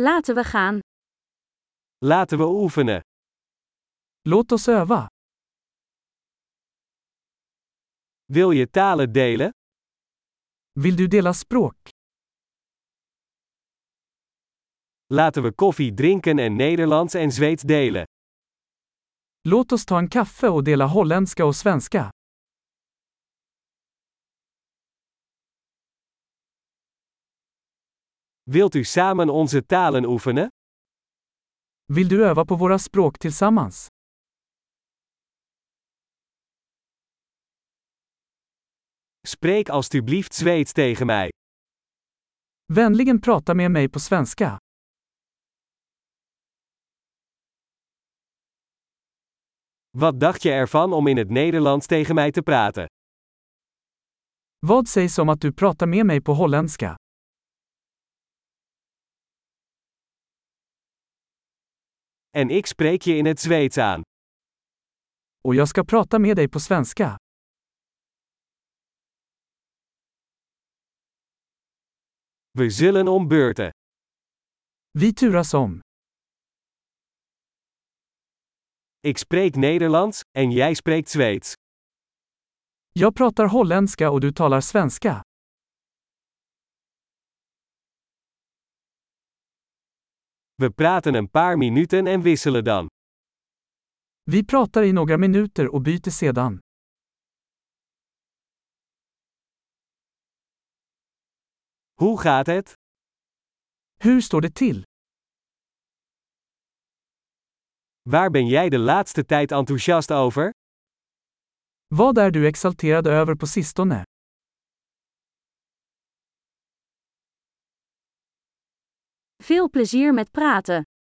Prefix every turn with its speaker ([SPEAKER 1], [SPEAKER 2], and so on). [SPEAKER 1] Laten we gaan.
[SPEAKER 2] Laten we oefenen.
[SPEAKER 3] Låt oss öva.
[SPEAKER 2] Wil je talen delen?
[SPEAKER 3] Vill du dela språk?
[SPEAKER 2] Laten we koffie drinken en Nederlands en Zweeds delen.
[SPEAKER 3] Låt oss ta en kaffe och dela holländska och svenska.
[SPEAKER 2] Wilt u samen onze talen oefenen?
[SPEAKER 3] Vill du öva på våra språk tillsammans?
[SPEAKER 2] Spreek alstublieft Zweeds tegen mij.
[SPEAKER 3] Vänligen prata med mig på svenska.
[SPEAKER 2] Wat dacht je ervan om in het Nederlands tegen mij te praten?
[SPEAKER 3] Vad sägs om att du pratar med mig på holländska?
[SPEAKER 2] En ik spreek je in het Zweeds aan.
[SPEAKER 3] Och jag ska prata med dig på svenska.
[SPEAKER 2] We zullen om beurten.
[SPEAKER 3] Vi turas om.
[SPEAKER 2] Ik spreek Nederlands en jij spreekt Zweeds.
[SPEAKER 3] Jag pratar holländska och du talar svenska.
[SPEAKER 2] We praten een paar minuten en wisselen dan.
[SPEAKER 3] Vi pratar i några minuter och byter sedan.
[SPEAKER 2] Hoe gaat het?
[SPEAKER 3] Hur står det till?
[SPEAKER 2] Waar ben jij de laatste tijd enthousiast over?
[SPEAKER 3] Vad är du exalterad över på sistone?
[SPEAKER 1] Veel plezier met praten.